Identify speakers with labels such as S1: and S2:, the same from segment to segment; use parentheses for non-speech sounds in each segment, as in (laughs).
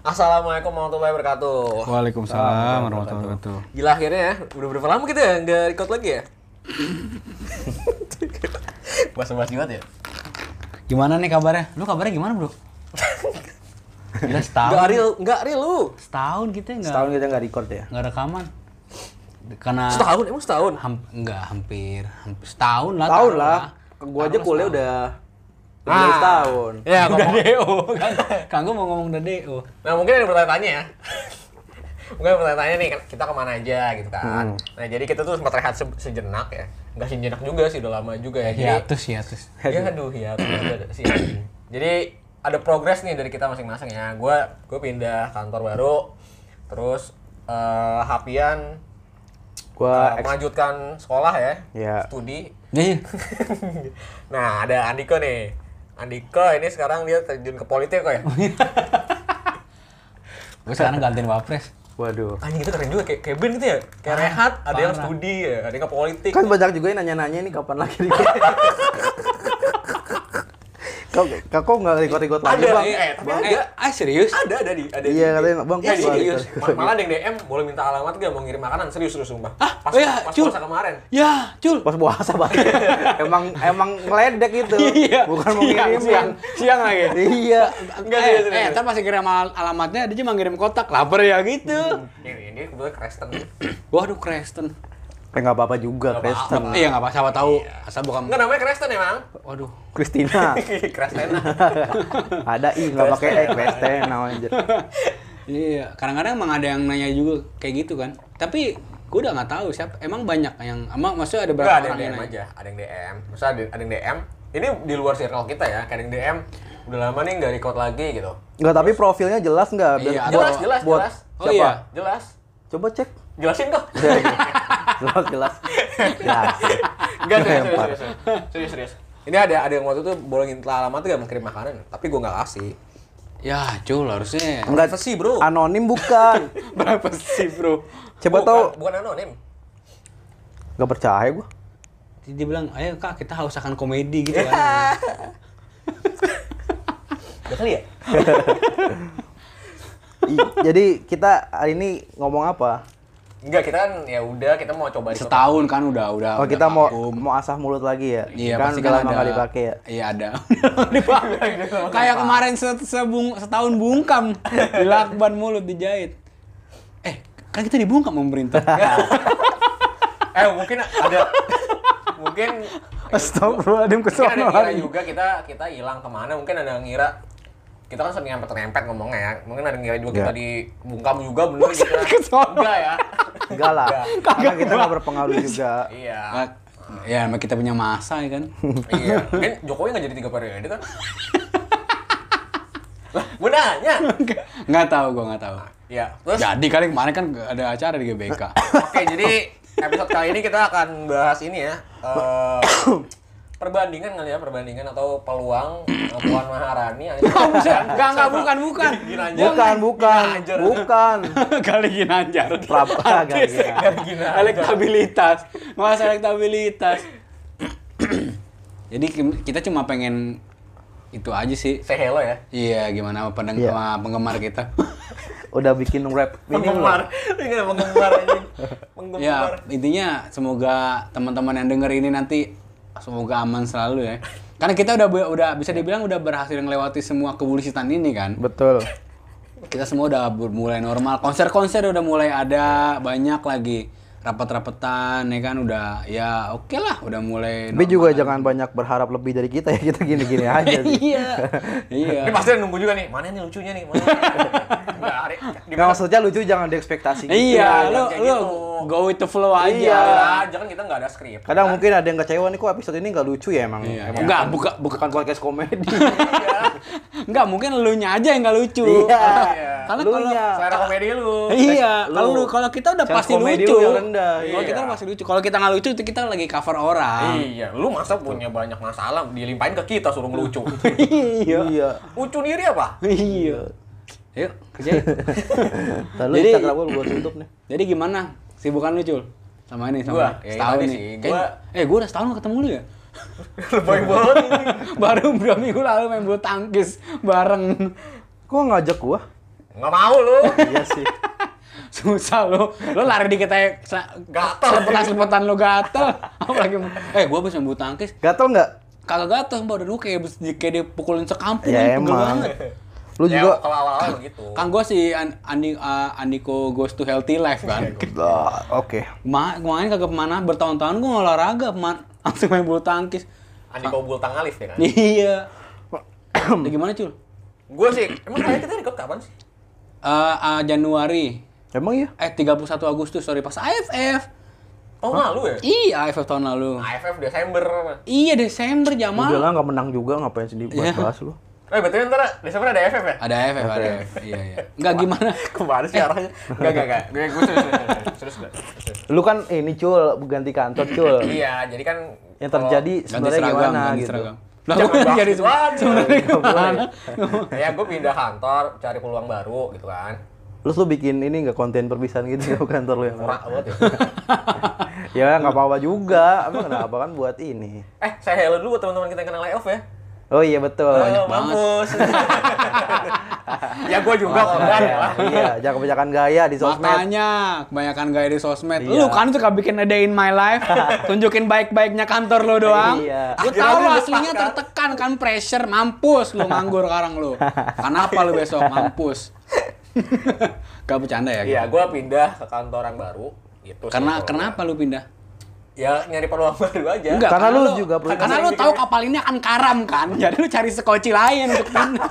S1: Assalamualaikum warahmatullahi wabarakatuh. Wah,
S2: Waalaikumsalam warahmatullahi wabarakatuh.
S1: Gila akhirnya ya, udah berapa lama kita ya nggak record lagi (laughs) ya? Bahasa-bahasa banget ya?
S2: Gimana nih kabarnya? Lu kabarnya gimana,
S1: (laughs)
S2: Bro? Gila setahun.
S1: Nggak real, nggak real lu.
S2: Setahun kita nggak
S3: Setahun kita nggak record ya.
S2: nggak rekaman. Karena
S1: Setahun, emang setahun?
S2: ham- nggak hampir, hampir setahun lah.
S3: Tahun
S2: taruh
S3: lah. Gua aja
S2: Taruh
S3: kuliah
S2: setahun.
S3: udah lebih dari
S1: Ah.
S3: setahun.
S1: Ya,
S2: udah
S1: ngomong.
S2: DO kan. Kang gua mau ngomong udah Oh. DO.
S1: Nah mungkin ada yang bertanya-tanya ya. mungkin ada yang bertanya nih, kan, kita kemana aja gitu kan. Nah jadi kita tuh sempat rehat se- sejenak ya. Nggak sejenak juga sih, udah lama juga ya. Jadi,
S2: Hiatus, hiatus.
S1: ya aduh ya aduh, ada sih. jadi ada progres nih dari kita masing-masing ya gue gue pindah kantor baru terus eh Hapian
S2: Ah.
S3: Gua
S1: eh, melanjutkan sekolah ya
S3: Ya.
S1: studi (laughs)
S2: Nih,
S1: nah ada Andiko nih Andiko ini sekarang dia terjun ke politik kok ya
S3: Oh, iya.
S2: gua sekarang gantiin Wapres.
S3: Waduh.
S1: anjing itu keren juga kayak kayak Ben gitu ya kayak rehat ada yang studi ya ada yang ke politik
S3: Ah, Kan banyak juga yang nanya-nanya ini kapan lagi record. (laughs) Kau, kau kok nggak record-record lagi
S1: Ada,
S3: bang? eh,
S1: iya, iya, tapi
S3: Bang,
S1: ada.
S2: ah serius?
S1: ada ada di ada
S3: Iya,
S1: di-
S3: katanya, Bang,
S1: iya,
S3: gitu. pas
S1: di-
S3: balik,
S1: serius
S3: balik,
S1: Ma- malah ada yang DM boleh minta alamat gak mau ngirim makanan serius serius sumpah
S2: Ah,
S1: pas
S2: oh iya,
S1: pas
S2: Cul.
S1: puasa kemarin
S2: Ya, Cul.
S3: pas puasa
S2: (laughs)
S3: bang. emang emang ngeledek gitu.
S2: Iya.
S3: Bukan mau
S2: Siang,
S3: ngirim
S2: siang. Siang lagi.
S3: Iya.
S1: Enggak,
S2: eh,
S1: serius, serius.
S2: eh, ntar masih ngirim al- alamatnya, dia cuma ngirim kotak. Laper ya gitu.
S1: ini ini kebetulan Kristen
S2: Waduh, Kristen.
S3: Eh nggak apa-apa juga, Kristen.
S2: Iya nggak apa-apa, siapa tahu. Asal bukan.
S1: Enggak namanya Kristen emang.
S2: Waduh. (laughs)
S3: Kristina.
S1: (laughs) Kristen.
S3: ada i nggak pakai e Kristen anjir.
S2: Iya, kadang-kadang emang ada yang nanya juga kayak gitu kan. Tapi gue udah nggak tahu siapa. Emang banyak yang, emang maksudnya ada
S1: Enggak ada
S2: berapa
S1: yang
S2: orang yang
S1: DM
S2: nanya?
S1: aja, ada yang DM. Masa ada, ada yang DM. Ini di luar circle kita ya, kayak ada yang DM. Udah lama nih nggak record lagi gitu.
S3: Nggak tapi profilnya jelas nggak? Biar-
S2: Iya,
S1: Jelas, jelas,
S3: buat
S1: jelas.
S2: Oh
S3: siapa?
S2: iya.
S1: Jelas.
S3: Coba cek.
S1: Jelasin
S3: (laughs)
S1: kok.
S3: jelas jelas. Ya. Jelas.
S1: Enggak serius,
S3: Lempar.
S1: serius, serius, serius, serius. Ini ada ada yang waktu itu boleh minta alamat tuh gak mau kirim makanan, tapi gue nggak kasih.
S2: Ya, cul harusnya.
S3: Enggak
S1: Privacy, bro.
S3: Anonim bukan.
S2: Berapa sih bro?
S1: Oh, Bukan-
S3: Coba tahu.
S1: Bukan anonim.
S3: Gak percaya gua.
S2: Dia bilang, ayo kak kita haus akan komedi gitu kan.
S3: Iya.
S1: Udah kali ya?
S3: I- Jadi kita hari ini ngomong apa?
S1: Enggak, kita kan ya udah kita mau coba record.
S2: Setahun kan udah udah.
S3: Oh
S2: udah
S3: kita mau
S2: vakum.
S3: mau asah mulut lagi ya?
S2: Iya
S3: kan
S2: pasti
S3: udah
S2: kan
S3: lama
S2: ada.
S3: nggak dipakai ya.
S2: Iya ada. (laughs) Dipakai. Kayak kemarin se- sebung- setahun
S3: (laughs)
S2: bungkam dilakban mulut dijahit. Eh kan kita dibungkam sama
S3: (laughs)
S2: pemerintah.
S1: Eh, mungkin ada mungkin
S2: Kan
S3: Astagfirullahaladzim
S1: Mungkin ada
S3: kesono
S1: yang ngira
S3: lagi.
S1: juga kita kita hilang kemana mungkin ada yang ngira kita kan sering nyempet nempet ngomongnya ya mungkin ada yang ngira
S3: Iya.
S1: juga kita dibungkam juga bener gitu enggak ya
S3: Enggak lah. Karena kita nggak berpengaruh juga.
S1: iya
S2: Ah, ya emang kita punya masa ya kan.
S1: iya mungkin Jokowi nggak jadi tiga periode kan lah gue nanya
S2: Nggak tahu gua nggak tahu.
S1: ya terus
S2: Jadi kali kemarin kan ada acara di GBK.
S1: oke jadi episode kali ini kita akan bahas ini ya eh, perbandingan kali ya perbandingan atau peluang eh, Puan Maharani Anies
S2: (laughs) Oh, bukan,
S1: Baswedan
S2: enggak, enggak,
S1: sama
S2: bukan, bukan.
S1: Ginanjar.
S3: Bukan, bukan,
S2: Iya,
S3: bukan.
S2: (laughs) kali Ginanjar.
S3: Prabowo kali Ginanjar.
S1: Ginanjar.
S2: Elektabilitas. Mas elektabilitas. (clears throat) Jadi kim- kita cuma pengen itu aja sih.
S1: Say hello ya
S2: Iya, gimana sama pendeng-
S3: Iya.
S2: sama penggemar kita?
S3: Udah bikin rap ini loh.
S1: penggemar ini kan penggemar ini penggemar
S2: ya, intinya semoga teman-teman yang denger ini nanti semoga aman selalu ya. Karena kita udah udah bisa dibilang udah berhasil melewati semua kebullshitan ini kan.
S3: Betul.
S2: Kita semua udah ber- mulai normal. Konser-konser udah mulai ada banyak lagi. Rapat-rapatan ya kan udah ya oke lah udah mulai
S3: Tapi juga jangan banyak berharap lebih dari kita ya. Kita gini-gini aja sih.
S2: (laughs) iya. iya.
S1: ini pasti ada nunggu juga nih mana nih lucunya nih mana nggak ada di
S3: Nggak maksudnya lucu jangan diekspektasi. gitu.
S2: Iya, lu
S1: kayak
S2: lu
S1: gitu.
S2: go with the flow aja.
S1: iya aja kan kita nggak ada skrip
S3: Kadang mungkin ada yang kecewa nih kok episode ini nggak lucu ya emang.
S2: Iya.
S3: Emang gitu.
S2: Enggak, buka, buka,
S3: bukan podcast
S2: (laughs)
S3: komedi.
S2: Enggak, mungkin elunya aja yang nggak lucu.
S3: Iya.
S2: Karena
S3: Elunya.
S2: kalau
S1: selera komedi lu
S2: Iya,
S3: Lu.
S2: kalau lu- kalau kita udah
S3: Self
S2: pasti
S3: comedy
S2: lucu.
S3: lu yang rendah,
S2: Kalau
S1: iya.
S2: kita pasti lucu. Kalau kita nggak lucu itu kita lagi cover orang.
S1: iya lu masa punya banyak masalah dilimpahin ke kita suruh ngelucu
S3: Iya. Iya.
S1: lucu diri apa
S2: Iya. Yuk, kerjain.
S3: (laughs) Lalu
S2: Jadi-
S3: Instagram gua buat tutup nih.
S2: Jadi gimana? Sibukan lu, Cul? Sama ini
S1: Gua?
S2: sama
S1: Ya,
S2: setahun
S1: tadi
S2: nih.
S1: sih,
S2: Kayak-
S1: gua-
S2: eh, gua udah setahun nggak ketemu lu ya? (laughs)
S1: lebay banget (laughs)
S2: Baru dua minggu lalu main bulu tangkis bareng. (laughs)
S3: Kok ngajak gua?
S1: Nggak mau lu.
S3: Iya sih.
S2: Susah lo. Lo lari dikit aja sel-
S1: Gatel.
S2: Selepetan-selepetan lo
S1: (laughs)
S2: gatel. Apalagi eh gua habis bulu tangkis
S3: Gatel nggak?
S2: kagak gatel mbak dulu kayak abis di- kayak dipukulin sekampung
S3: Ya
S2: pegel
S3: emang.
S2: banget.
S3: Lu
S1: Ya,
S3: juga.
S1: kalau awal-awal begitu.
S2: Kan gua si An- Andi uh, Andiko goes to healthy life
S1: (laughs)
S2: kan.
S3: Lah, Oke.
S2: Ma, kemarin kagak kemana bertahun-tahun gua nggak olahraga, man. (laughs) Langsung main bulu tangkis.
S1: Andi Kobul Tangalif ya kan.
S2: Iya. Ya, gimana cul?
S1: Gue sih, emang kalian kita record kapan sih?
S2: Eh eh, Januari
S3: Emang iya.
S2: eh 31 Agustus sorry pas AFF.
S1: Tahun lalu ya?
S2: Iya AFF tahun lalu.
S1: AFF Desember.
S2: Iya Desember
S3: Udah
S2: Jamal.
S3: lah nggak menang juga ngapain sendiri
S2: Iya.
S3: bahas bahas lu.
S1: Eh, betul ntar Desember ada AFF ya? (laughs)
S2: Ada AFF, ada AFF. Iya iya. Enggak gimana?
S1: Kemana sih arahnya? Enggak, enggak, enggak. Gue gue serius, serius, serius, serius, serius.
S3: Lu kan ini cul ganti kantor cul.
S1: Iya, jadi kan
S3: Yang
S1: kalau-
S3: terjadi
S2: Ganti
S3: sebenarnya
S2: seragam,
S3: gimana
S2: ganti
S3: gitu.
S2: seragam. Lah
S1: Jangan
S2: gua yang
S1: bahas
S2: jadi
S1: itu aja.
S2: sebenarnya
S1: Nggak
S2: gimana?
S1: (laughs) ya gue pindah kantor, cari peluang baru gitu kan.
S3: Terus lu bikin ini nggak konten perpisahan gitu (laughs) di kantor lu yang
S1: Murah banget ya.
S3: Ya nggak apa-apa juga. Emang kenapa kan buat ini.
S1: Eh, saya hello dulu buat teman-teman kita yang kena layoff ya.
S3: Oh iya betul.
S1: Halo, mampus. (laughs) ya gue juga korban ya lah.
S3: Iya, jangan kebanyakan gaya di sosmed.
S2: Makanya kebanyakan gaya di sosmed.
S3: Iya.
S2: Lu kan suka bikin a day in my
S3: (laughs)
S2: life, tunjukin baik-baiknya kantor lu doang.
S3: Iya.
S2: Lu
S1: Akhirnya lu
S2: tahu lu
S1: disepak,
S2: aslinya
S1: kan?
S2: tertekan kan pressure mampus lu
S3: (laughs)
S2: nganggur sekarang lu. Kenapa lu besok mampus? (laughs) Gak bercanda ya?
S1: Iya, gue pindah ke kantor yang baru gitu. sih
S2: Karena
S1: kalau-
S2: kenapa lu pindah?
S1: Ya nyari peluang (laughs) baru aja.
S2: Enggak,
S3: Ya, Karena lu juga perlu-
S2: Karena lu tahu kapal ini akan karam kan. (laughs) Jadi lu cari sekoci lain untuk
S3: (laughs)
S2: pindah.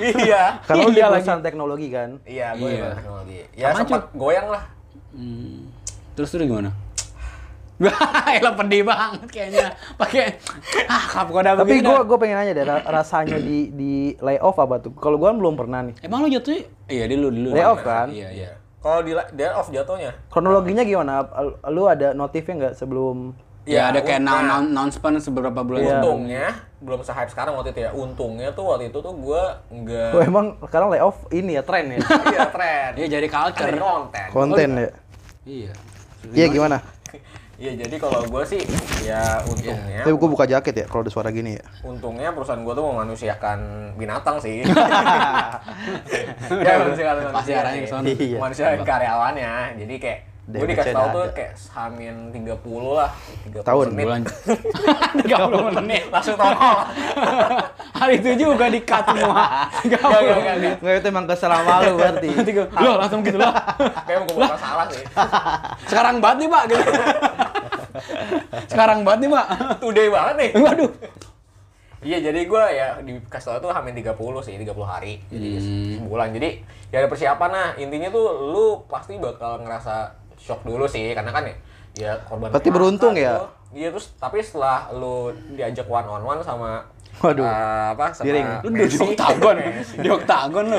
S1: iya.
S3: Karena lu di
S2: Iya lagi.
S3: perusahaan teknologi kan.
S1: Iya, gue
S2: Iya.
S1: iya. teknologi. Ya
S2: Apaan,
S1: sempat goyang lah.
S2: Hmm. Terus terus gimana? (laughs) Wah, elah pedih banget kayaknya. Pakai (laughs) ah kap koda
S3: Tapi
S2: begini.
S3: gua gua pengen aja deh ra- rasanya di di layoff apa tuh? Kalau gua kan belum pernah dah.
S2: Emang lu jatuh? Iya, dulu dulu.
S3: Layoff kan?
S2: Iya, iya.
S1: Kalau di la- dia off jatuhnya.
S3: Kronologinya gimana? Al- Lu ada notifnya nggak sebelum
S1: Ya,
S2: Ya, ada kayak
S1: untung-
S2: noun noun announcement seberapa bulan
S3: Iya.
S2: sebelum.
S1: Untungnya belum sehype sekarang waktu itu ya. Untungnya tuh waktu itu tuh gue enggak
S3: Wah, emang sekarang layoff ini ya tren ya?
S1: iya tren.
S2: Iya, jadi culture.
S1: Ada konten.
S3: (laughs) Konten ya?
S2: Iya.
S3: Iya gimana?
S1: (laughs) Iya, jadi kalau gue sih ya untungnya
S3: Tapi gua buka jaket ya kalau ada suara gini ya.
S1: untungnya perusahaan gue tuh memanusiakan binatang
S2: (laughs)
S1: sih. (laughs) ya memanusiakan manusia
S2: Pasti
S1: sih.
S2: arahnya ke sana.
S3: Iya.
S1: Memanusiakan karyawannya. Jadi kayak gue
S3: Damage-nya
S1: dikasih tahu
S3: udah
S1: tuh
S3: ada.
S1: kayak hamin 30 lah, 30
S3: Tahun,
S1: menit.
S2: Bulan. 30 menit.
S1: Langsung tongol.
S2: (laughs) Hari itu juga di-cut semua.
S1: Enggak, enggak, enggak, enggak.
S3: Nggak itu emang kesalahan malu berarti.
S2: Nanti gua, loh langsung gitu loh.
S1: Kayak gue bukan salah sih.
S2: Sekarang banget nih, Pak. Gitu. Sekarang banget nih, Pak.
S1: Today banget nih.
S2: Waduh.
S1: Iya jadi gue ya dikasih tau tuh hamin 30 sih 30 hari jadi
S2: Hmm.
S1: sebulan jadi ya ada persiapan nah intinya tuh lu pasti bakal ngerasa shock dulu sih karena kan ya ya korban
S3: Berarti
S1: phk
S3: beruntung ya?
S1: tuh. iya terus tapi setelah lu diajak one on one sama
S3: Waduh.
S1: eh, apa sama
S3: Diring.
S2: Lu di di oktagon, di oktagon (laughs) lu.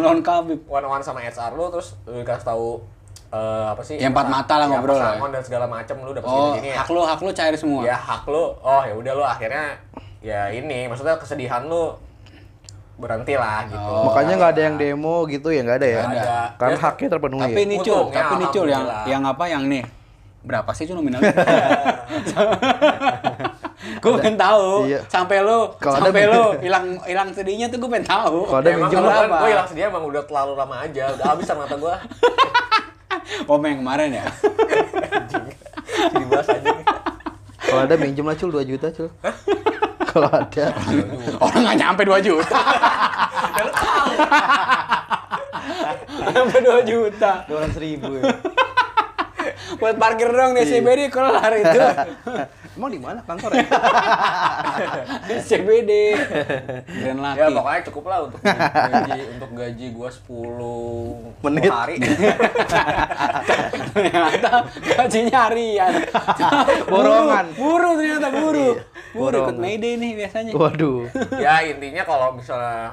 S2: Lawan Khabib.
S1: one on one sama HR lu terus lu dikasih tahu eh, apa sih
S2: Ya, empat mata lah
S1: ya,
S2: ngobrol lah ya.
S1: pesangon dan segala macem lu dapet ya.
S2: Oh,
S1: segini-gini
S2: hak lu, hak lu cair semua.
S1: ya hak lu oh ya udah lu akhirnya ya ini maksudnya kesedihan lu berhenti lah gitu
S2: Oh.
S3: (laughs) Makanya nggak ada yang demo gitu ya nggak ada ya?
S1: Nggak ada.
S3: Karena
S1: Ya,
S3: haknya terpenuhi.
S2: Tapi
S3: ya?
S2: ini cul,
S1: Untungnya,
S2: tapi ini cul yang
S1: alhamdulillah.
S2: yang apa yang nih? Berapa sih cul
S1: (laughs)
S2: nominalnya? (laughs) gue pengen tahu
S3: Iya.
S2: sampai lu
S3: Kalau ada-
S2: sampai lu hilang hilang sedihnya tuh gue pengen tahu
S3: Kalau ada
S1: Ya, emang
S3: minjem
S1: kalau
S2: berapa?
S1: kan gue hilang sedih emang udah terlalu lama aja udah habis sama mata
S3: (laughs)
S1: gue
S2: om yang kemarin ya
S1: jadi bahas aja
S3: Kalau ada minjem lah cul 2 juta cul. Kalau ada.
S2: orang nggak nyampe 2 juta nyampe 2 juta
S3: Dua ratus ribu. ya.
S2: buat parkir dong
S3: Iya.
S2: di CBD kelar
S3: (laughs)
S2: itu
S3: Emang di mana kantor ya?
S2: CBD Grand
S1: ya
S2: Laki
S1: pokoknya cukup lah untuk gaji untuk gaji gue 10
S3: Menit.
S1: hari (laughs)
S2: ternyata gajinya harian
S3: Borongan. Iya.
S2: buru ternyata buru buru ikut
S3: borongan.
S2: Mayday nih biasanya
S3: Waduh.
S1: ya intinya kalau misalnya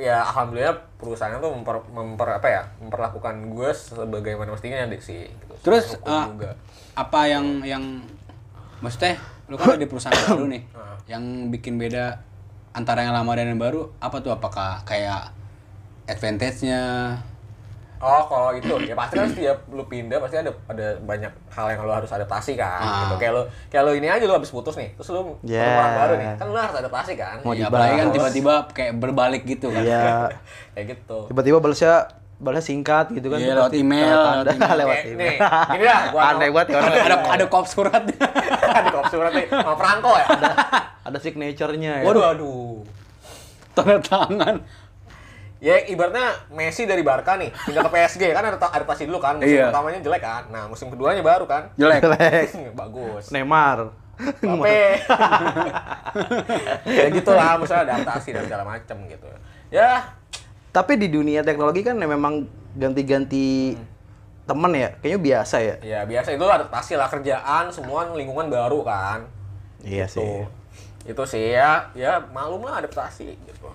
S1: ya alhamdulillah perusahaannya tuh memper, memper apa ya memperlakukan gue sebagaimana mestinya deh sih gitu.
S2: terus
S1: Hukum
S2: eh,
S1: juga.
S2: apa yang yang maksudnya lu kan ada di
S1: (coughs)
S2: perusahaan baru nih
S1: Ah.
S2: yang bikin beda antara yang lama dan yang baru apa tuh apakah kayak advantage-nya
S1: Oh, kalau itu ya pasti kan setiap lu pindah pasti ada ada banyak hal yang lu harus adaptasi kan.
S2: Ah.
S1: Gitu. Kayak lu kayak lu ini aja lu habis putus nih, terus lu ketemu
S3: Yeah.
S1: orang baru nih, kan lu harus adaptasi kan.
S2: Mau
S1: Iya.
S3: dibahas.
S2: apalagi kan tiba-tiba kayak berbalik gitu kan.
S3: Iya.
S1: Kayak gitu.
S3: Tiba-tiba balasnya balasnya singkat gitu kan.
S2: Iya, lewat
S3: Pasti
S2: email,
S3: tanda-
S2: lewat email. Eh,
S3: lewat
S1: Kayak
S3: email.
S1: nih, gini dah, gua
S3: (laughs) Aneh
S1: mau-
S3: banget
S1: (laughs)
S3: ya orang.
S2: Ada ada, ada kop suratnya.
S1: Ada kop surat nih, sama Franco ya.
S3: Ada signaturenya ya.
S1: Waduh, aduh.
S2: (laughs) Tanda tangan.
S1: Ya ibaratnya Messi dari Barca nih pindah ke PSG kan ada adaptasi dulu kan musim
S2: Iya. Eh.
S1: pertamanya jelek kan, nah musim keduanya baru kan
S2: Jelek.
S3: Jelek.
S1: (laughs) bagus.
S2: Nah,
S3: Neymar.
S1: Tapi
S2: (laughs)
S1: ya gitu lah, misalnya adaptasi dan segala macem gitu. Ya,
S3: Tapi di dunia teknologi kan memang ganti-ganti temen ya. Kayaknya biasa ya.
S1: ya biasa itu adaptasi lah kerjaan, semua lingkungan baru kan.
S3: Iya
S1: Tuh. Itu sih ya, ya malum lah adaptasi gitu.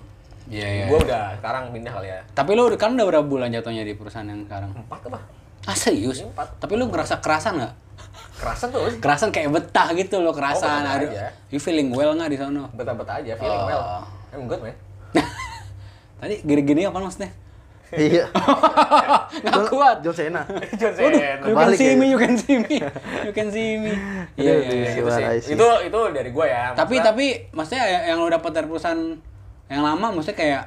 S2: Iya, iya.
S1: Gue udah sekarang pindah kali ya.
S2: Tapi lu kan udah berapa bulan jatuhnya di perusahaan yang sekarang?
S1: Empat apa?
S2: Ah serius?
S1: Hmm. Iya, Empat.
S2: Tapi lu ngerasa kerasan nggak?
S1: Kerasa tuh
S2: Kerasan kayak betah gitu lo kerasan.
S1: betah
S2: Aduh,
S1: Oh, aja.
S2: you feeling well nggak di sana?
S1: betah-betah aja, feeling
S2: Oh.
S1: well. I'm good, man. (laughs)
S2: (laughs) Tadi gini-gini apa maksudnya?
S3: Iya.
S2: (laughs) Nggak kuat.
S3: John Cena.
S1: John Cena.
S2: You can
S3: Kebalik
S2: see
S3: ya.
S2: me, you can see me, you can see
S3: (laughs)
S2: me. Iya, iya, iya.
S1: Gitu sih.
S3: Well, I see.
S1: Itu itu dari gue ya.
S2: Tapi
S1: Maksudnya-
S2: tapi maksudnya yang- yang lo dapat dari perusahaan yang lama maksudnya kayak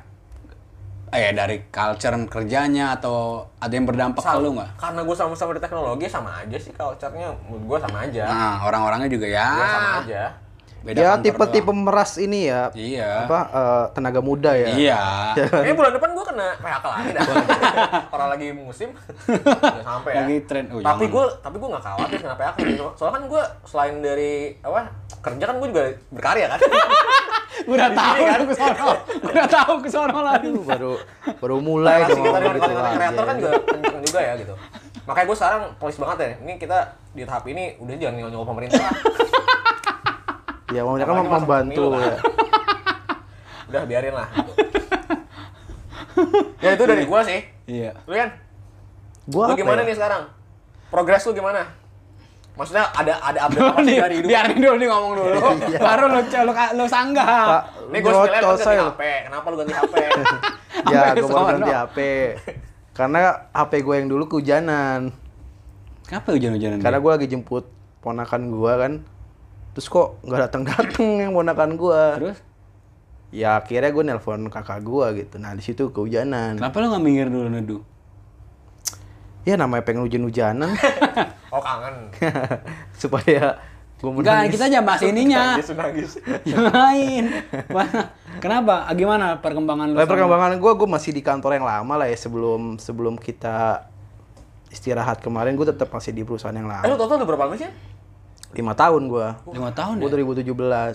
S2: eh dari culture kerjanya atau ada yang berdampak ke
S1: Sama-
S2: lu nggak?
S1: Karena gue sama-sama di teknologi ya sama aja sih culture-nya menurut gue sama aja.
S2: Nah, orang-orangnya juga ya.
S1: Gua sama aja.
S2: Beda
S3: ya
S2: kantor
S3: tipe-tipe
S2: doang.
S3: meras ini ya.
S2: Iya.
S3: Apa eh, tenaga muda ya.
S2: Iya.
S1: Ini bulan depan gue kena PHK lagi dah. (laughs) Orang lagi musim udah sampai ya.
S2: Lagi tren. Oh,
S1: tapi
S2: jangan.
S1: gue tapi gue nggak khawatir kena PHK gitu. Soalnya kan gue selain dari apa kerja kan gue juga berkarya
S2: (laughs)
S1: kan.
S2: Gua
S3: Iya
S2: udah tahu
S1: kan?
S2: lu ke sono. Gua udah tahu ke sono lagi.
S3: Aduh, baru baru mulai
S1: Kreasi
S3: dong
S1: kita dengan
S3: gitu
S1: konten kreator kan
S3: aja.
S1: juga kenceng juga ya gitu. Makanya gue sekarang polis banget ya. Ini kita di tahap ini udah jangan nyolong pemerintah. lah.
S3: Ya, mau kan
S1: Apalagi masa
S3: membantu
S1: pemilu,
S3: ya.
S1: Udah biarin lah. Gitu. ya itu dari gue sih.
S2: Iya.
S1: Lu kan?
S3: Gua
S1: lu
S3: apa
S1: gimana
S3: ya?
S1: nih sekarang? Progres lu gimana? Maksudnya ada ada update apa sih
S2: Nih,
S1: dari hidup?
S2: biarin dulu nih ngomong dulu. Oh, Baru lu lu, lu sanggah.
S3: Iya. Pak,
S1: (laughs) Nih gue
S3: nyerocos
S1: sebenarnya kan ganti
S3: saya. Iya,
S1: HP. Kenapa lu ganti
S3: (laughs)
S1: HP?
S3: Ya,
S2: Sampai
S3: gue baru
S2: sono.
S3: ganti HP. Karena HP gue yang dulu kehujanan.
S2: Kenapa hujan-hujanan? gitu?
S3: Karena gue lagi jemput ponakan gue kan. Terus kok nggak datang datang yang ponakan gue.
S2: terus
S3: Ya akhirnya gue nelpon kakak gue gitu. Nah di situ kehujanan.
S2: kenapa lu nggak minggir dulu nuduh?
S3: Ya namanya pengen hujan-hujanan (laughs)
S1: Oh kangen.
S3: supaya gue
S2: Enggak, kita aja bahas
S1: (laughs)
S2: ininya. (laughs)
S1: Nangis, nangis.
S2: Yang lain. Mana? Kenapa? Ah, Gimana perkembangan lu?
S3: Nah,
S2: sama-
S3: perkembangan gue, gue masih di kantor yang lama lah ya sebelum sebelum kita istirahat kemarin gue tetap masih di perusahaan yang
S1: Eh lu
S3: lama.
S1: total udah berapa lama sih?
S3: Lima tahun gue.
S2: Lima tahun
S3: Gue
S2: ya? Oh.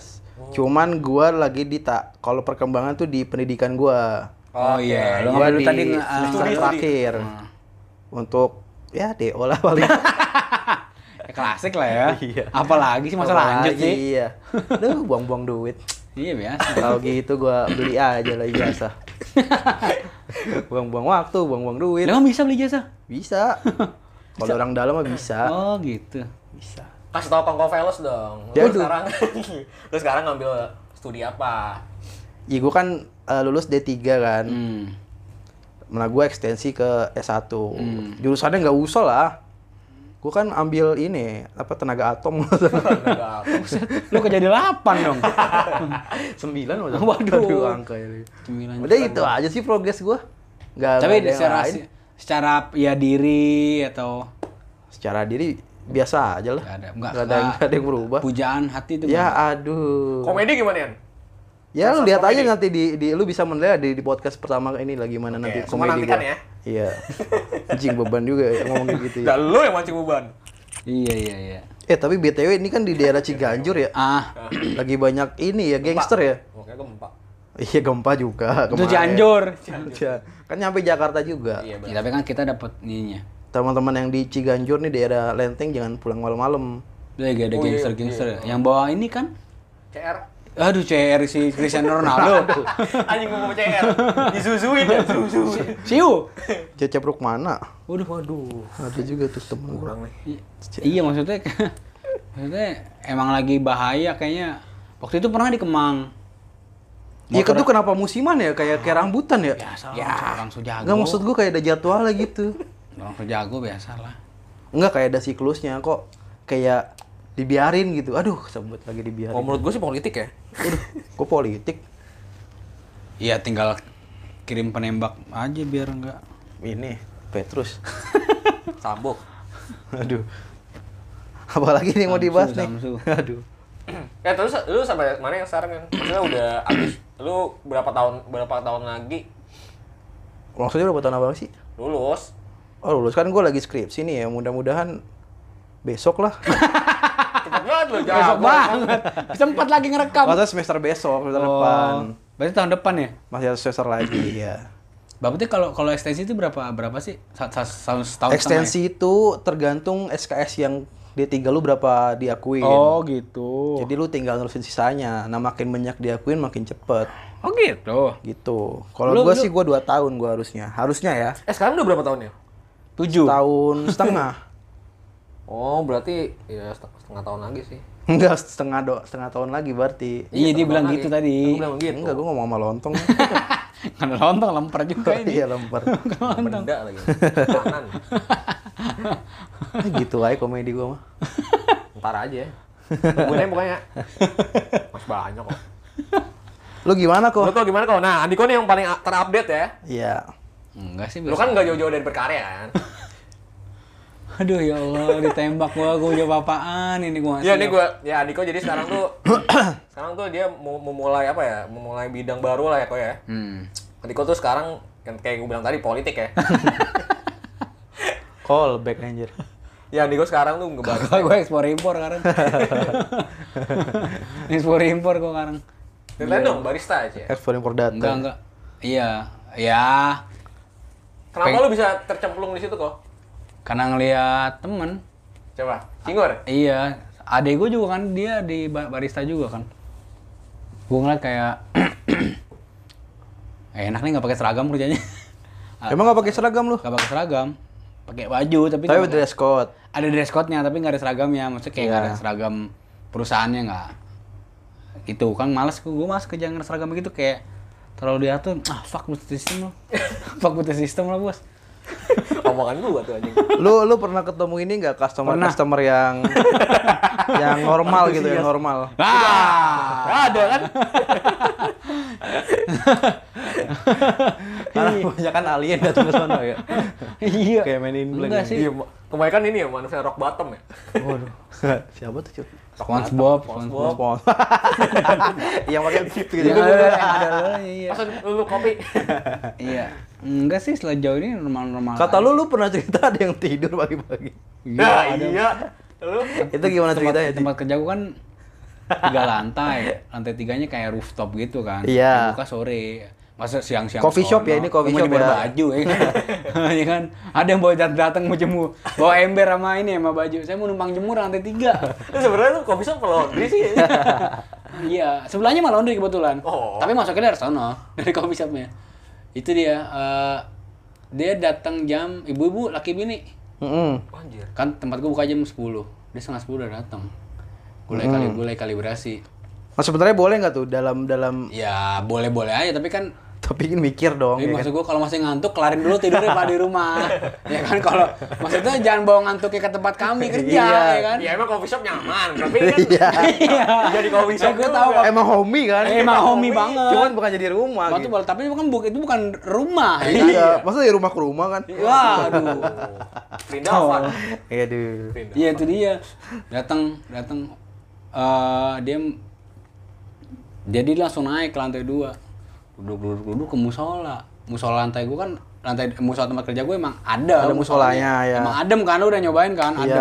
S3: 2017. Cuman gue lagi di tak kalau perkembangan tuh di pendidikan gue.
S2: Oh iya, lu
S3: Gua
S2: ngambil dulu
S3: di
S2: tadi nge-
S3: semester
S2: ah, nge-
S3: terakhir untuk ya DO lah paling.
S2: Ya, klasik lah ya. Apalagi sih masa lanjut
S3: Iya. Apalagi,
S2: sih.
S3: Iya. Duh, buang-buang duit.
S2: Iya biasa.
S3: Kalau gitu gue beli aja lah
S2: (laughs)
S3: biasa. buang-buang waktu, buang-buang duit.
S2: Lu emang bisa beli jasa? (laughs)
S3: Bisa. Kalau orang dalam mah bisa.
S2: Oh gitu.
S3: Bisa.
S1: Kasih tau Kongko Velos dong. Lu
S3: Dia tuh.
S1: sekarang (laughs) lu sekarang ngambil studi
S3: (laughs)
S1: apa?
S3: Ya gue kan eh, lulus D3 kan.
S2: Hmm.
S3: Malah gue ekstensi ke S1.
S2: Hmm.
S3: Jurusannya nggak usah lah. Gue kan ambil ini, apa tenaga
S2: (laughs)
S3: atom.
S1: Enggak.
S2: Lu kerja di lapan
S3: (laughs)
S2: dong.
S3: Sembilan udah.
S2: Waduh.
S3: angka ini.
S2: Cemilan.
S3: Udah itu aja sih progres gue. Nggak
S2: Tapi
S3: nggak ada yang
S2: secara
S3: lain.
S2: secara ya diri atau
S3: secara diri biasa aja lah.
S2: Nggak ada, nggak-
S3: Nggak ada, yang-
S2: nggak-
S3: nggak ada yang berubah.
S2: pujaan hati itu
S3: Ya
S2: nggak?
S3: aduh.
S1: Komedi gimana ya?
S3: Ya lu
S1: Konsep
S3: lihat aja
S1: komedi.
S3: nanti di, di lu bisa menilai di, di podcast pertama ini lah gimana nanti
S1: semua
S3: komedi
S1: nantikan
S3: gua.
S1: ya. (laughs)
S3: Iya. Anjing beban juga ya ngomong kayak gitu ya.
S1: Dan lu yang mancing beban.
S2: Iya iya iya.
S3: Eh tapi BTW ini kan di daerah Ciganjur ya.
S2: Ah,
S3: Lagi banyak ini ya gangster ya.
S1: Oke, gempa.
S3: Iya gempa juga
S2: itu
S3: kemarin.
S2: Cianjur.
S3: Iya. Kan nyampe Jakarta juga.
S1: Iya,
S2: Ya,
S1: benar.
S2: tapi kan kita dapat ininya.
S3: Teman-teman yang di Ciganjur nih daerah Lenteng jangan pulang malam-malam.
S2: Itu lagi ada
S1: Oh, iya,
S2: gangster-gangster. Yang bawa ini kan?
S1: CR.
S2: Aduh, CR si Cristiano Ronaldo.
S1: (laughs) Anjing gua mau CR. Disusuin ya, disusuin.
S2: Siu.
S3: Cecep Rukmana.
S2: Waduh, waduh.
S3: Ada juga tuh temen gua.
S1: Kurang nih.
S2: Iya, maksudnya maksudnya emang lagi bahaya kayaknya. Waktu itu pernah di Kemang.
S3: Iya itu kenapa musiman ya kayak kayak rambutan ya?
S2: Biasa lah, orang sejago.
S3: Enggak maksud gua kayak ada jadwalnya gitu.
S2: Orang sejago biasa lah.
S3: Enggak kayak ada siklusnya kok kayak dibiarin gitu. Aduh, sebut lagi dibiarin.
S1: Kalau menurut gue sih politik ya.
S3: Aduh, kok politik?
S2: Iya tinggal kirim penembak aja biar enggak.
S3: Ini Petrus. (laughs)
S1: Sambo.
S3: Aduh. Apalagi nih mau
S2: Samsu,
S3: dibahas nih?
S2: Samsu.
S3: Aduh.
S1: Ya terus lu sampai mana yang sekarang kan? Maksudnya udah abis. Lu berapa tahun berapa tahun lagi
S3: Maksudnya udah tahun apa sih?
S1: lulus?
S3: Oh, lulus kan gua lagi skripsi nih ya. Mudah-mudahan besok
S2: (laughs)
S3: lah.
S1: Cepet banget lu jago.
S2: Besok banget. Sempat lagi ngerekam.
S3: Masa semester besok, semester depan.
S2: Oh, Berarti tahun depan ya?
S3: Masih ada semester lagi
S2: (clears throat) Iya.
S3: ya.
S2: Bapaknya kalau kalau ekstensi itu berapa berapa sih? Sa- sa- sa- Setahun setengah ya?
S3: Ekstensi itu tergantung SKS yang D3 lu berapa
S2: ya?
S3: diakuin.
S2: Oh gitu.
S3: Jadi lu tinggal nerusin sisanya. Nah, makin banyak diakuin makin cepet
S2: Oh gitu.
S3: gitu. Kalau
S2: Lu-
S3: gua
S2: lu-
S3: sih gua 2 tahun gua harusnya. Harusnya ya.
S1: Eh sekarang udah berapa tahun ya?
S2: Tujuh. (laughs)
S3: Tahun setengah.
S1: Oh berarti ya setengah, setengah tahun lagi
S2: (laughs)
S1: sih.
S3: Enggak setengah do, setengah tahun lagi berarti.
S2: Iya dia
S1: setengah
S2: bilang
S1: tahun
S2: gitu
S1: lagi.
S2: tadi. (laughs)
S1: Lu bilang gitu.
S3: Enggak, gua ngomong sama lontong.
S2: Karena lontong lempar juga ini.
S3: Iya, lempar.
S1: Benda lagi. Kanan.
S3: Ah, gitu aja komedi gua mah.
S1: Ntar aja. Tungguin aja pokoknya. Mas banyak kok.
S3: Lu gimana
S1: Lu
S3: kok?
S1: tau gimana kok? Nah, Andiko nih yang paling a- terupdate ya.
S3: Iya.
S2: Enggak sih.
S1: Lu
S2: biasa.
S1: kan nggak jauh-jauh dari berkarya kan?
S2: Aduh ya Allah ditembak gua gua jawab apaan ini gua.
S1: Iya, ini gua ya Andiko jadi sekarang tuh sekarang tuh dia mau memulai apa ya? Memulai bidang baru lah ya kok ya.
S2: Hmm.
S1: Andiko tuh sekarang kan kayak gue bilang tadi politik ya.
S3: Call back anjir.
S1: ya Andiko sekarang tuh ngebahas
S2: Kalau gua ekspor
S1: (laughs)
S2: impor sekarang. ekspor impor gua sekarang.
S1: Iya, Ceritain dong barista aja.
S3: Ekspor impor data.
S2: Enggak enggak. Iya. Ya,
S1: Kenapa lu bisa tercemplung di situ kok?
S2: karena ngelihat temen
S1: Coba, singgur.
S2: Iya, adek gue juga kan dia di ba- barista juga kan. Gue ngeliat kayak (clears throat) eh, enak nih nggak pakai seragam kerjanya. (laughs)
S3: Emang nggak pakai seragam lu?
S2: Gak pakai seragam, pakai baju tapi
S3: Tapi
S2: nggak-
S3: dress code.
S2: ada dress code-nya tapi nggak ada seragamnya. Maksudnya kayak nggak ada
S3: Iya.
S2: seragam perusahaannya nggak. Itu kan males gue, gue males kerja nggak ada seragam begitu kayak terlalu diatur. Ah fuck with the system lo, (laughs) fuck with the system lah bos.
S1: Omongan gua tuh anjing.
S3: lu lu pernah ketemu ini nggak customer
S2: Pernah.
S3: customer yang
S2: (laughs)
S3: yang normal gitu
S2: Iya.
S3: yang normal
S2: Ah,
S3: Iya.
S1: Ada kan?
S3: karena banyak kan alien datang ke sana ya
S2: iya.
S3: Kayak main in blank ya.
S2: Enggak
S3: yang
S2: sih.
S1: Iya, ma- kebanyakan ini ya manusia rock bottom ya.
S3: (laughs) waduh siapa tuh cuy
S2: SpongeBob,
S1: SpongeBob.
S3: (laughs) Spon- yang pakai gitu gitu
S2: Yang ada- ada lo, iya.
S1: Langsung lu kopi.
S2: Iya. Enggak sih sejauh ini normal-normal.
S3: kata lu lu pernah cerita ada yang tidur pagi-pagi
S1: Nah, iya. Lu
S3: itu gimana ceritanya
S2: di tempat kerja gua kan tiga lantai. Lantai tiganya kayak rooftop gitu kan.
S3: Iya.
S2: Buka sore. Masa siang-siang
S3: Coffee shop
S2: sono.
S3: ya, ini coffee
S2: Cuma
S3: shop
S2: di bawah
S3: ya.
S2: baju ya kan. (laughs) Iya kan. Ada yang bawa dat- datang mau jemur. Bawa ember sama ini sama baju. Saya mau numpang jemur lantai
S3: (laughs)
S2: tiga.
S1: lu sebenarnya lu kopi shop laundry sih.
S2: iya, sebelahnya malah laundry kebetulan.
S1: Oh.
S2: Tapi masuknya dari sono, (laughs) dari coffee shopnya. Itu dia eh, dia datang jam ibu-ibu laki bini.
S3: Mm-mm.
S1: Anjir.
S2: kan tempat gue buka jam 10 dia setengah 10 udah datang gue
S3: Hmm.
S2: lagi kali gue lagi kalibrasi
S3: nah sebenarnya boleh nggak tuh dalam dalam
S2: ya boleh boleh aja tapi kan
S3: tapi ingin mikir dong
S2: tapi
S3: ya kan?
S2: maksud gue kalau masih ngantuk kelarin dulu tidurnya pada di rumah
S3: (laughs)
S2: ya kan kalau maksudnya jangan bawa ngantuknya ke tempat
S3: (laughs)
S2: kami kerja
S3: Iya.
S2: ya kan
S1: Ya emang coffee shop nyaman, tapi kan
S3: Iya.
S1: (laughs) jadi coffee shop.
S2: Eh, gua
S1: juga.
S2: tahu
S3: emang homey kan
S2: Eh, emang homey banget.
S3: cuman bukan jadi rumah
S2: Waktu
S3: gitu
S2: bal- tapi bukan bu- itu bukan rumah ya kan?
S3: iya masa dari rumah ke rumah kan
S2: Iya. waduh
S1: Linda Alvan.
S3: iya deh
S1: Linda.
S2: iya itu dia datang datang eh dia jadi langsung naik ke lantai dua duduk duduk duduk ke musola musola lantai gua kan lantai musola tempat kerja gue emang ada
S3: Ada musolanya, ya.
S2: emang adem kan lu udah nyobain kan adem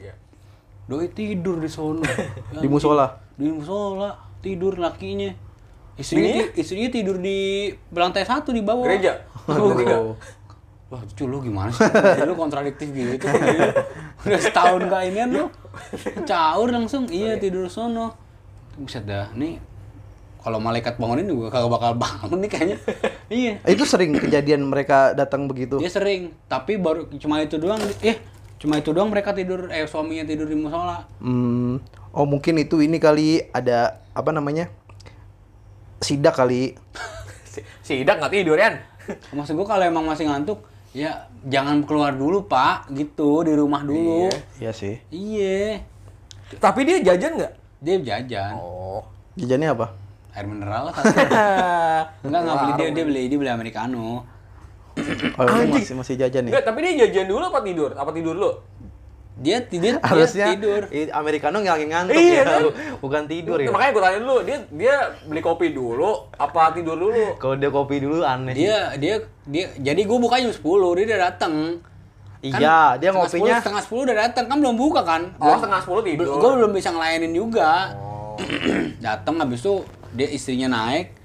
S3: iya
S1: Iya.
S2: doi tidur di sono
S3: (laughs)
S2: Ya
S3: di musola
S2: di musola tidur lakinya istrinya ti- istrinya tidur di lantai satu di bawah
S1: Gereja.
S2: Tuh.
S1: Tiga.
S2: Wah, cu lu gimana sih? lu kontradiktif gitu. Udah setahun gak inian lu. Caur langsung. Iya, tidur sono. Buset dah. Nih kalau malaikat bangunin juga kagak bakal bangun nih kayaknya. iya.
S3: Eh, Itu sering kejadian mereka datang begitu.
S2: Dia sering, tapi baru cuma itu doang. Eh, cuma itu doang mereka tidur eh suaminya tidur di musola.
S3: Hmm, oh mungkin itu ini kali ada apa namanya? sidak kali.
S1: Si- Sidak nggak tidur Yan.
S2: Maksud gua kalau emang masih ngantuk, ya jangan keluar dulu pak, gitu di rumah dulu.
S3: Iya sih.
S2: Iya,
S1: Tapi dia jajan nggak?
S2: dia jajan.
S1: (laughs) Oh.
S3: Jajannya apa?
S2: Air mineral lah satu. Enggak enggak beli dia dia beli dia beli americano.
S3: (clears throat) Oh, lu
S1: Anjing.
S3: masih masih jajan ya? nih.
S1: Enggak, tapi dia jajan dulu apa tidur? Apa tidur dulu?
S2: Dia tidur
S3: (laughs)
S2: dia
S3: Harusnya
S2: tidur.
S3: i- Americano nggak lagi ngantuk
S1: Iya,
S3: ya. (laughs)
S1: kan?
S3: Bukan tidur ya.
S1: Makanya gue tanya dulu, dia dia beli kopi dulu apa tidur dulu?
S3: Kode kopi dulu aneh.
S2: Dia dia dia jadi gua buka jam 10, dia udah datang.
S3: Iya, dia
S2: setengah
S3: ngopinya-
S2: 10, setengah 10 udah datang, kan belum buka kan?
S1: Oh, setengah sepuluh tidur.
S2: Gue belum bisa ngelayanin juga.
S3: Oh.
S2: (clears throat) Datang habis itu dia istrinya naik,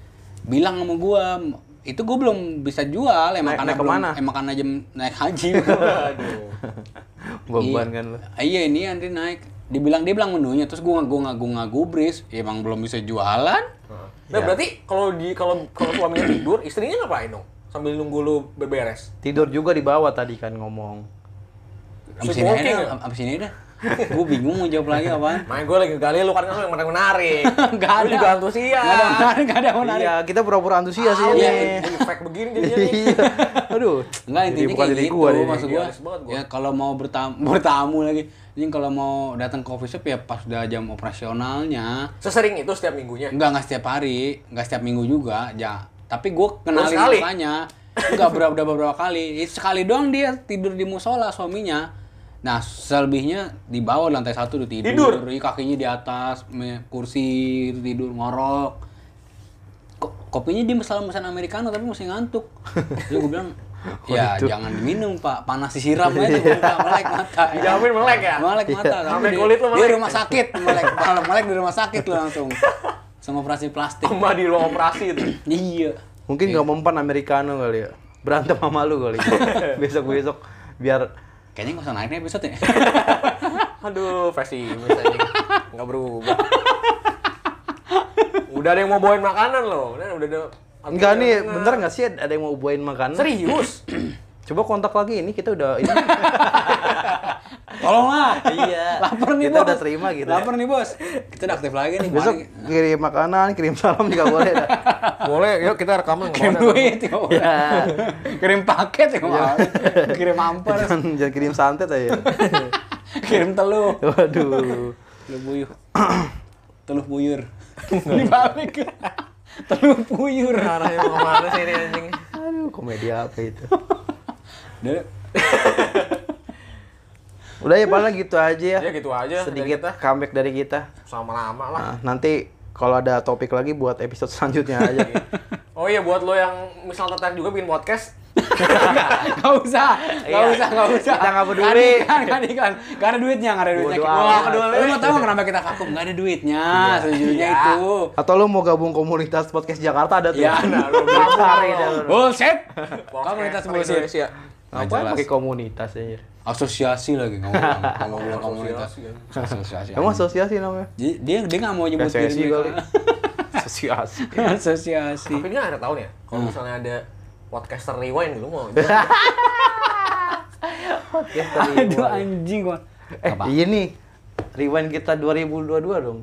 S2: bilang sama gua, itu gue belum bisa jual emang
S3: Naik-
S2: karena
S3: naik
S2: belum-
S3: kemana?
S2: emang karena jam naik haji
S1: Aduh.
S3: (laughs) Beban
S2: Iya.
S3: kan lu.
S2: Iya ini Andri naik. Dibilang dia bilang menunya terus gua gua gua gua gubris. Ya, emang belum bisa jualan.
S1: Nah, berarti kalau di kalau kalau suaminya tidur, istrinya ngapain dong? Sambil nunggu lu beberes.
S3: Tidur juga di bawah tadi kan ngomong.
S2: Abis
S1: Sleep
S2: ini
S1: walking
S2: aja,
S1: ya?
S2: dah, abis ini aja dah. Gua bingung mau jawab lagi apaan.
S1: Main gue lagi gali lu kan kan yang menarik.
S2: Gak ada.
S1: Lu juga antusias.
S2: Gak ada yang menarik, gak ada yang Oh, menarik. Ah, iya.
S3: Iya, kita pura-pura antusias sih
S1: Tahu
S3: ini.
S1: ya, jadi fake begini jadinya nih.
S3: (laughs) Iya. Aduh.
S2: Enggak
S3: Jadi
S2: intinya
S3: bukan
S2: kayak
S3: diri
S2: gitu
S3: gua deh.
S2: maksud gua.
S1: Idealis banget gua.
S2: Ya kalau mau bertamu, (laughs) bertamu lagi. Ini kalau mau datang ke coffee shop ya pas udah jam operasionalnya.
S1: Sesering itu setiap minggunya.
S2: Enggak enggak setiap hari, enggak setiap minggu juga, ya. Tapi gua kenalin
S1: sekali?
S2: mukanya. Enggak berapa udah beberapa kali. Eh, Sekali doang dia tidur di musola suaminya. Nah, selebihnya di bawah di lantai satu udah tidur.
S1: Tidur?
S2: Ih, Kakinya di atas, me- kursi tidur ngorok. Ko- kopinya dia selalu pesan americano tapi masih ngantuk. Jadi gua
S1: (laughs)
S2: bilang, ya jangan diminum pak, panas disiram aja. Gua bilang, melek mata.
S1: Dijamin melek ya?
S2: Melek mata. tapi
S1: Sampai
S2: di-
S1: kulit lu
S2: Di
S1: melek.
S2: rumah sakit, melek. Malah melek di rumah sakit lu langsung. Sama operasi plastik.
S1: Sama di ruang operasi itu.
S2: Iya.
S3: Mungkin nggak mempan Americano kali ya. Berantem sama lu
S2: (laughs)
S3: kali. Besok-besok biar
S2: Kayaknya nggak usah naik nih episode ya.
S1: Aduh, pesimis aja. Nggak berubah. Udah ada yang mau bawain makanan loh. Udah udah ada.
S3: Enggak nih, bentar nggak sih ada yang mau buain makanan?
S1: Serius?
S3: (clears throat) Coba kontak lagi ini kita udah ini.
S1: (laughs)
S2: Tolonglah.
S3: Iya.
S2: Lapar nih
S3: Kita
S2: bos.
S3: udah terima gitu.
S2: Lapar nih bos. Kita udah aktif lagi nih.
S3: Besok
S2: kemarin.
S3: kirim makanan, kirim salam juga boleh. dah.
S1: (laughs) Boleh, yuk kita rekaman.
S2: kirim duit ya.
S3: Iya.
S2: Kirim paket ya. kemarin. Kirim amper.
S3: jangan, jangan kirim santet
S1: (laughs)
S3: aja.
S2: Kirim telur.
S3: Waduh.
S2: Telur buyur. telur buyur. Dibalik. telur buyur.
S1: Arahnya mau kemana sih ini anjing?
S3: Aduh, komedi apa
S1: (laughs)
S3: itu?
S2: Dari-
S3: Udah ya paling gitu aja ya.
S1: Ya gitu aja.
S3: Sedikit
S1: dari kita.
S3: comeback dari kita.
S1: sama lama lah.
S3: Nah, nanti kalau ada topik lagi buat
S1: (laughs)
S3: episode selanjutnya aja.
S1: Oh iya buat lo yang misal tertarik juga bikin podcast,
S2: Gak usah, gak
S3: Iya.
S2: usah, gak usah.
S3: Kita nggak peduli.
S2: Kan, kan, kan. Gak ada duitnya, gak ada duitnya.
S3: Bodo
S2: Wah,
S3: amat.
S2: peduli. Lu mau tau nggak kenapa kita vakum? Gak ada duitnya, sejujurnya
S1: Iya.
S2: itu.
S3: Atau lu mau gabung komunitas podcast Jakarta ada tuh.
S2: Ya,
S1: nah,
S3: (laughs)
S1: lu gabung.
S3: Cari dah lu.
S2: Bullshit!
S1: Podcast
S2: Komunitas bullshit.
S1: Indonesia.
S3: Ngapain pakai komunitas aja?
S2: Asosiasi lagi ngomong. Kalau bilang komunitas.
S1: Ya.
S2: Asosiasi.
S3: Emang asosiasi namanya?
S2: Jadi, dia dia nggak mau nyebut diri
S3: Asosiasi kali. (laughs)
S2: mereka.
S3: Asosiasi.
S2: Asosiasi.
S1: Tapi ini akhir tahun ya. Kalau misalnya ada podcaster rewind lu mau. podcaster
S2: Aduh anjing gua.
S3: Eh,
S2: Apa?
S3: iya nih. Rewind kita 2022 dong.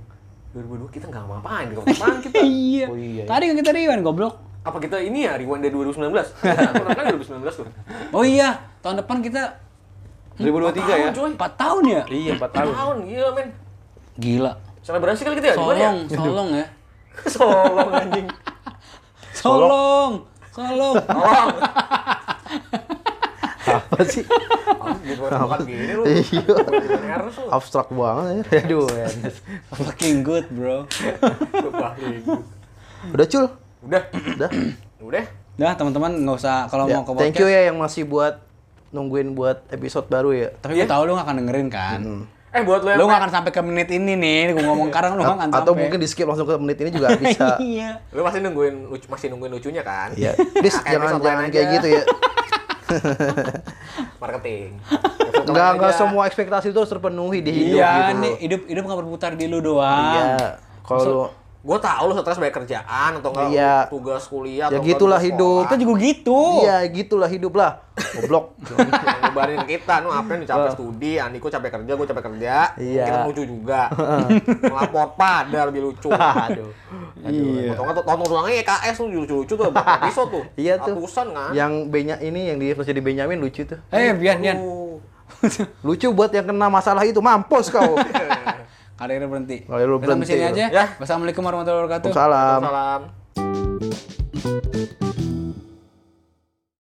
S1: 2002 kita nggak ngapain, nggak ngapain kita.
S2: Iya.
S3: Oh, iya, iya.
S2: Tadi kan kita rewind goblok.
S1: Apa kita ini ya rewind dari 2019? (laughs) Kurang kan 2019 tuh.
S2: Oh iya, tahun depan kita
S3: 2023 ya?
S1: Tahun, coy.
S2: 4 tahun ya?
S3: Iya, 4 tahun.
S1: Tahun gila men.
S2: Gila.
S1: Selebrasi kali kita ya? Gimana ya?
S2: Solong, solong ya.
S1: (laughs) Solong anjing.
S2: Solong, solong.
S1: Solong.
S3: Apa sih?
S1: Ah, Gitu bukan gini lu.
S3: Iya.
S1: Ngeres lu.
S3: (laughs) Abstrak banget ya. Aduh, ya.
S2: Fucking good, bro.
S1: Sumpah, gitu.
S3: Udah cul.
S1: Udah.
S3: Udah.
S1: Udah.
S2: Dah, teman-teman nggak usah kalau
S3: Ya,
S2: mau ke podcast.
S3: thank you ya yang masih buat nungguin buat episode baru ya.
S2: Tapi gue tahu lu gak akan dengerin kan.
S1: Eh buat lo yang
S2: Lu gak akan sampai ke menit ini nih, gue ngomong sekarang lu gak akan sampai. ya?
S3: Atau mungkin di skip langsung ke menit ini juga (laughs)
S2: (laughs)
S3: bisa.
S2: Iya.
S1: Lu masih nungguin lucu, masih nungguin lucunya kan?
S3: Iya. Please
S1: Pakai
S3: jangan
S1: episode lain
S3: jangan kayak
S1: aja.
S3: (laughs) gitu ya.
S1: Marketing.
S3: (laughs) Enggak enggak semua ekspektasi itu harus terpenuhi di hidup
S2: Iya,
S3: gitu.
S2: nih hidup hidup gak berputar di lu doang.
S3: Iya. Kalau lu-
S1: Gue tau lu stres banyak kerjaan atau enggak
S3: Iya.
S1: lu tugas kuliah
S3: ya
S1: atau
S3: gitulah hidup.
S1: Itu juga
S3: gitu. Iya, gitulah hidup lah. Goblok.
S2: (laughs)
S1: (laughs) ngebarin kita, nu apa nih capek studi, Andiko capek kerja, gue capek kerja,
S3: Iya.
S1: kita lucu
S3: (laughs)
S1: juga, melapor pada lebih lucu.
S3: Aduh.
S1: Iya. Atau nggak tuh tonton tulangnya YKS tuh lucu-lucu tuh buat episode tuh.
S3: Iya tuh.
S1: Ratusan kan.
S3: Yang Benya ini yang di jadi Benyamin lucu tuh.
S2: Eh, Bian, Bian.
S1: Aduh.
S3: Lucu buat yang kena masalah itu, mampus kau.
S2: Karirnya berhenti.
S3: Karirnya
S2: Kita sampai
S3: berhenti.
S2: sini aja.
S1: Ya.
S2: Wassalamualaikum warahmatullahi wabarakatuh.
S3: Salam.
S1: Salam.